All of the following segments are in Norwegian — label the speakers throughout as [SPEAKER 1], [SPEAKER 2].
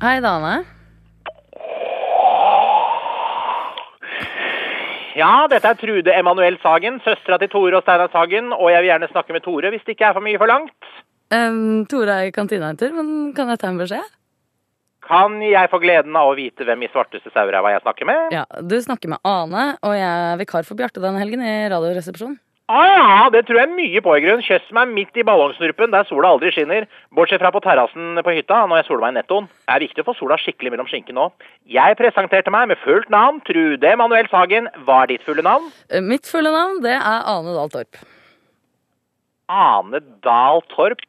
[SPEAKER 1] Hei, Dane.
[SPEAKER 2] Ja, dette er Trude Emanuel Sagen, søstera til Tore og Steinar Sagen, og jeg vil gjerne snakke med Tore hvis det ikke er for mye forlangt.
[SPEAKER 1] Um, Tore er i kantina en tur, men kan jeg ta en beskjed?
[SPEAKER 2] Kan jeg få gleden av å vite hvem i svarteste sauræva jeg snakker med?
[SPEAKER 1] Ja, Du snakker med Ane, og jeg er vikar for Bjarte denne helgen i Radioresepsjonen.
[SPEAKER 2] Ah, ja, det tror jeg mye på i grunn. Kjøss meg midt i ballongsnurpen der sola aldri skinner. Bortsett fra på terrassen på hytta når jeg soler meg i nettoen. Det er viktig å få sola skikkelig mellom skinkene òg. Jeg presenterte meg med fullt navn. Trude Emanuel Sagen, hva er ditt fulle navn?
[SPEAKER 1] Eh, Mitt fulle navn det er Ane Dahl Torp.
[SPEAKER 2] Ane Dahl Torp.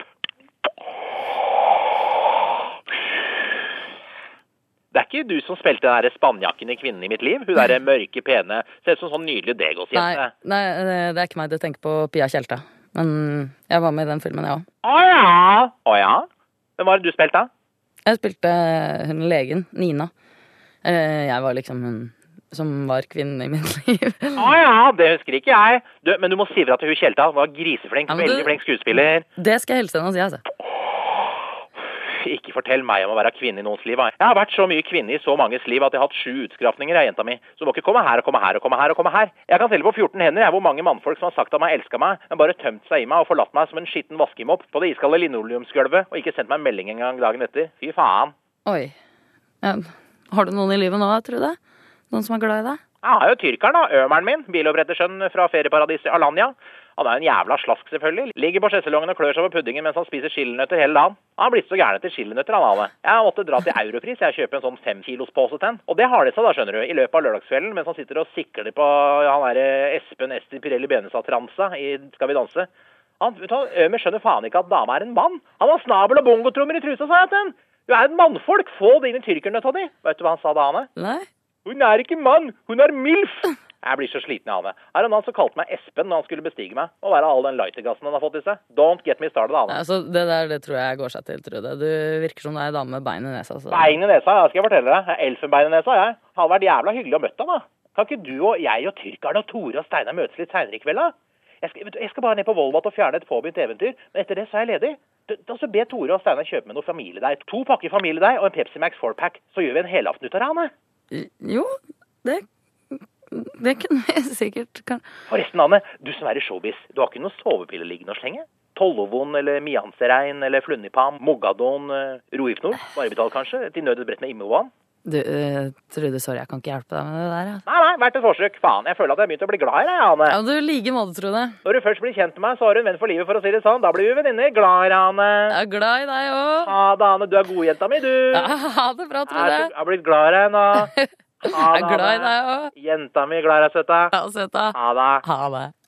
[SPEAKER 2] Det er ikke du som spilte den der spanjakken i Kvinnen i mitt liv? Hun derre mørke, pene Ser ut som en sånn nydelig
[SPEAKER 1] Nei,
[SPEAKER 2] Degos-jente.
[SPEAKER 1] nei, eh, det er ikke meg du tenker på, Pia Tjelta. Men jeg var med i den filmen, jeg òg.
[SPEAKER 2] Å ja. Å ja. Hvem var det du spilte, da?
[SPEAKER 1] Jeg spilte eh, hun legen, Nina. Eh, Jeg var liksom hun som var kvinnen i mitt liv.
[SPEAKER 2] Å ja, det husker ikke jeg. Du, men du må si ifra til hun Kjelta. Hun var griseflink.
[SPEAKER 1] Ja, men du-
[SPEAKER 2] Veldig flink skuespiller.
[SPEAKER 1] Det skal jeg hilse henne og si, altså.
[SPEAKER 2] Ikke fortell meg om å være kvinne i noens liv. da. Jeg har vært så mye kvinne i så manges liv at jeg har hatt sju utskrapninger av jenta mi. Så du må ikke komme her og komme her og komme her og komme her. Jeg kan telle på 14 hender jeg, hvor mange mannfolk som har sagt at de elska meg, men bare tømt seg i meg og forlatt meg som en skitten vaskemopp på det iskalde linoleumsgulvet og ikke sendt meg en melding engang dagen etter. Fy faen.
[SPEAKER 1] Oi. Ja. Har du noen i livet nå, Trude? Noen som er glad i deg?
[SPEAKER 2] Jeg har jo tyrkeren, da. Ømeren min. Biloppretteren fra ferieparadiset Alanya. Han er jo en jævla slask, selvfølgelig. Ligger på sjeselongen og klør seg på puddingen mens han spiser chilinøtter hele dagen. Han har blitt så gæren etter chilinøtter, han Ane. Jeg måtte dra til Europris jeg kjøper en sånn femkilospose til han. Og det har de seg, da, skjønner du. I løpet av lørdagskvelden mens han sitter og sikler på han derre Espen Esti Pirelli Benestad-transa i Skal vi danse. Han, vet du hva, Ømer skjønner faen ikke at dama er en mann. Han har snabel og bongotrommer i trusa, sa jeg til han. Du er et mannfolk! Få det inn i tyrkernøtta di! Vet du hva han sa da, Ane?
[SPEAKER 1] Nei?
[SPEAKER 2] Hun er ikke mann, hun er MILF! Jeg blir så sliten av det. Her er en mann som kalte meg Espen når han skulle bestige meg, og være all den lightergassen han har fått i seg. Don't get me started,
[SPEAKER 1] Nei,
[SPEAKER 2] Ane.
[SPEAKER 1] altså, det der det tror jeg går seg til, Trude. Du virker som du er ei dame med bein i nesa. Så.
[SPEAKER 2] Bein i nesa, ja, skal jeg fortelle deg. Jeg har Elfenbein i nesa, jeg. Hadde vært jævla hyggelig å møte han, da. Kan ikke du og jeg og tyrkerne og Tore og Steinar møtes litt seinere i kveld, da? Jeg skal, vet du, jeg skal bare ned på Volvat og fjerne et påbegynt eventyr, men etter det så er jeg ledig. Da- Da så Be Tore og Steinar kjøpe med noe familiedeig. To pakker familiedeig og en Pepsi Max 4-pack. Så gjør vi en helaften ut av det, Ane.
[SPEAKER 1] Jo, det Det kunne vi sikkert kan...
[SPEAKER 2] Forresten, Anne, du som er i showbiz, du har ikke noen sovepille liggende å slenge? Tollovon eller Mianserein eller Flunipam, Mogadon, eh, Roifnor, Barbital kanskje? Til nød et brett med Imovan?
[SPEAKER 1] Du, eh, Trude, sorry, jeg kan ikke hjelpe deg med det der. Ja.
[SPEAKER 2] Nei, nei, verdt et forsøk. Faen, jeg føler at jeg har begynt å bli glad i deg, Anne.
[SPEAKER 1] Ja, du, i like måte, Trude.
[SPEAKER 2] Når du først blir kjent med meg, så har du en venn for livet, for å si det sånn. Da blir vi venninner. Glad i deg, Anne.
[SPEAKER 1] Jeg er glad i deg òg.
[SPEAKER 2] Ha det, Anne. Du er godjenta mi, du. Jeg
[SPEAKER 1] Ha det bra,
[SPEAKER 2] er
[SPEAKER 1] Trude.
[SPEAKER 2] så- jeg har blitt glad i deg nå.
[SPEAKER 1] Jeg er glad i deg òg.
[SPEAKER 2] Jenta mi, glad i deg, søta.
[SPEAKER 1] Ja, søta.
[SPEAKER 2] Ha det.
[SPEAKER 1] Ha det.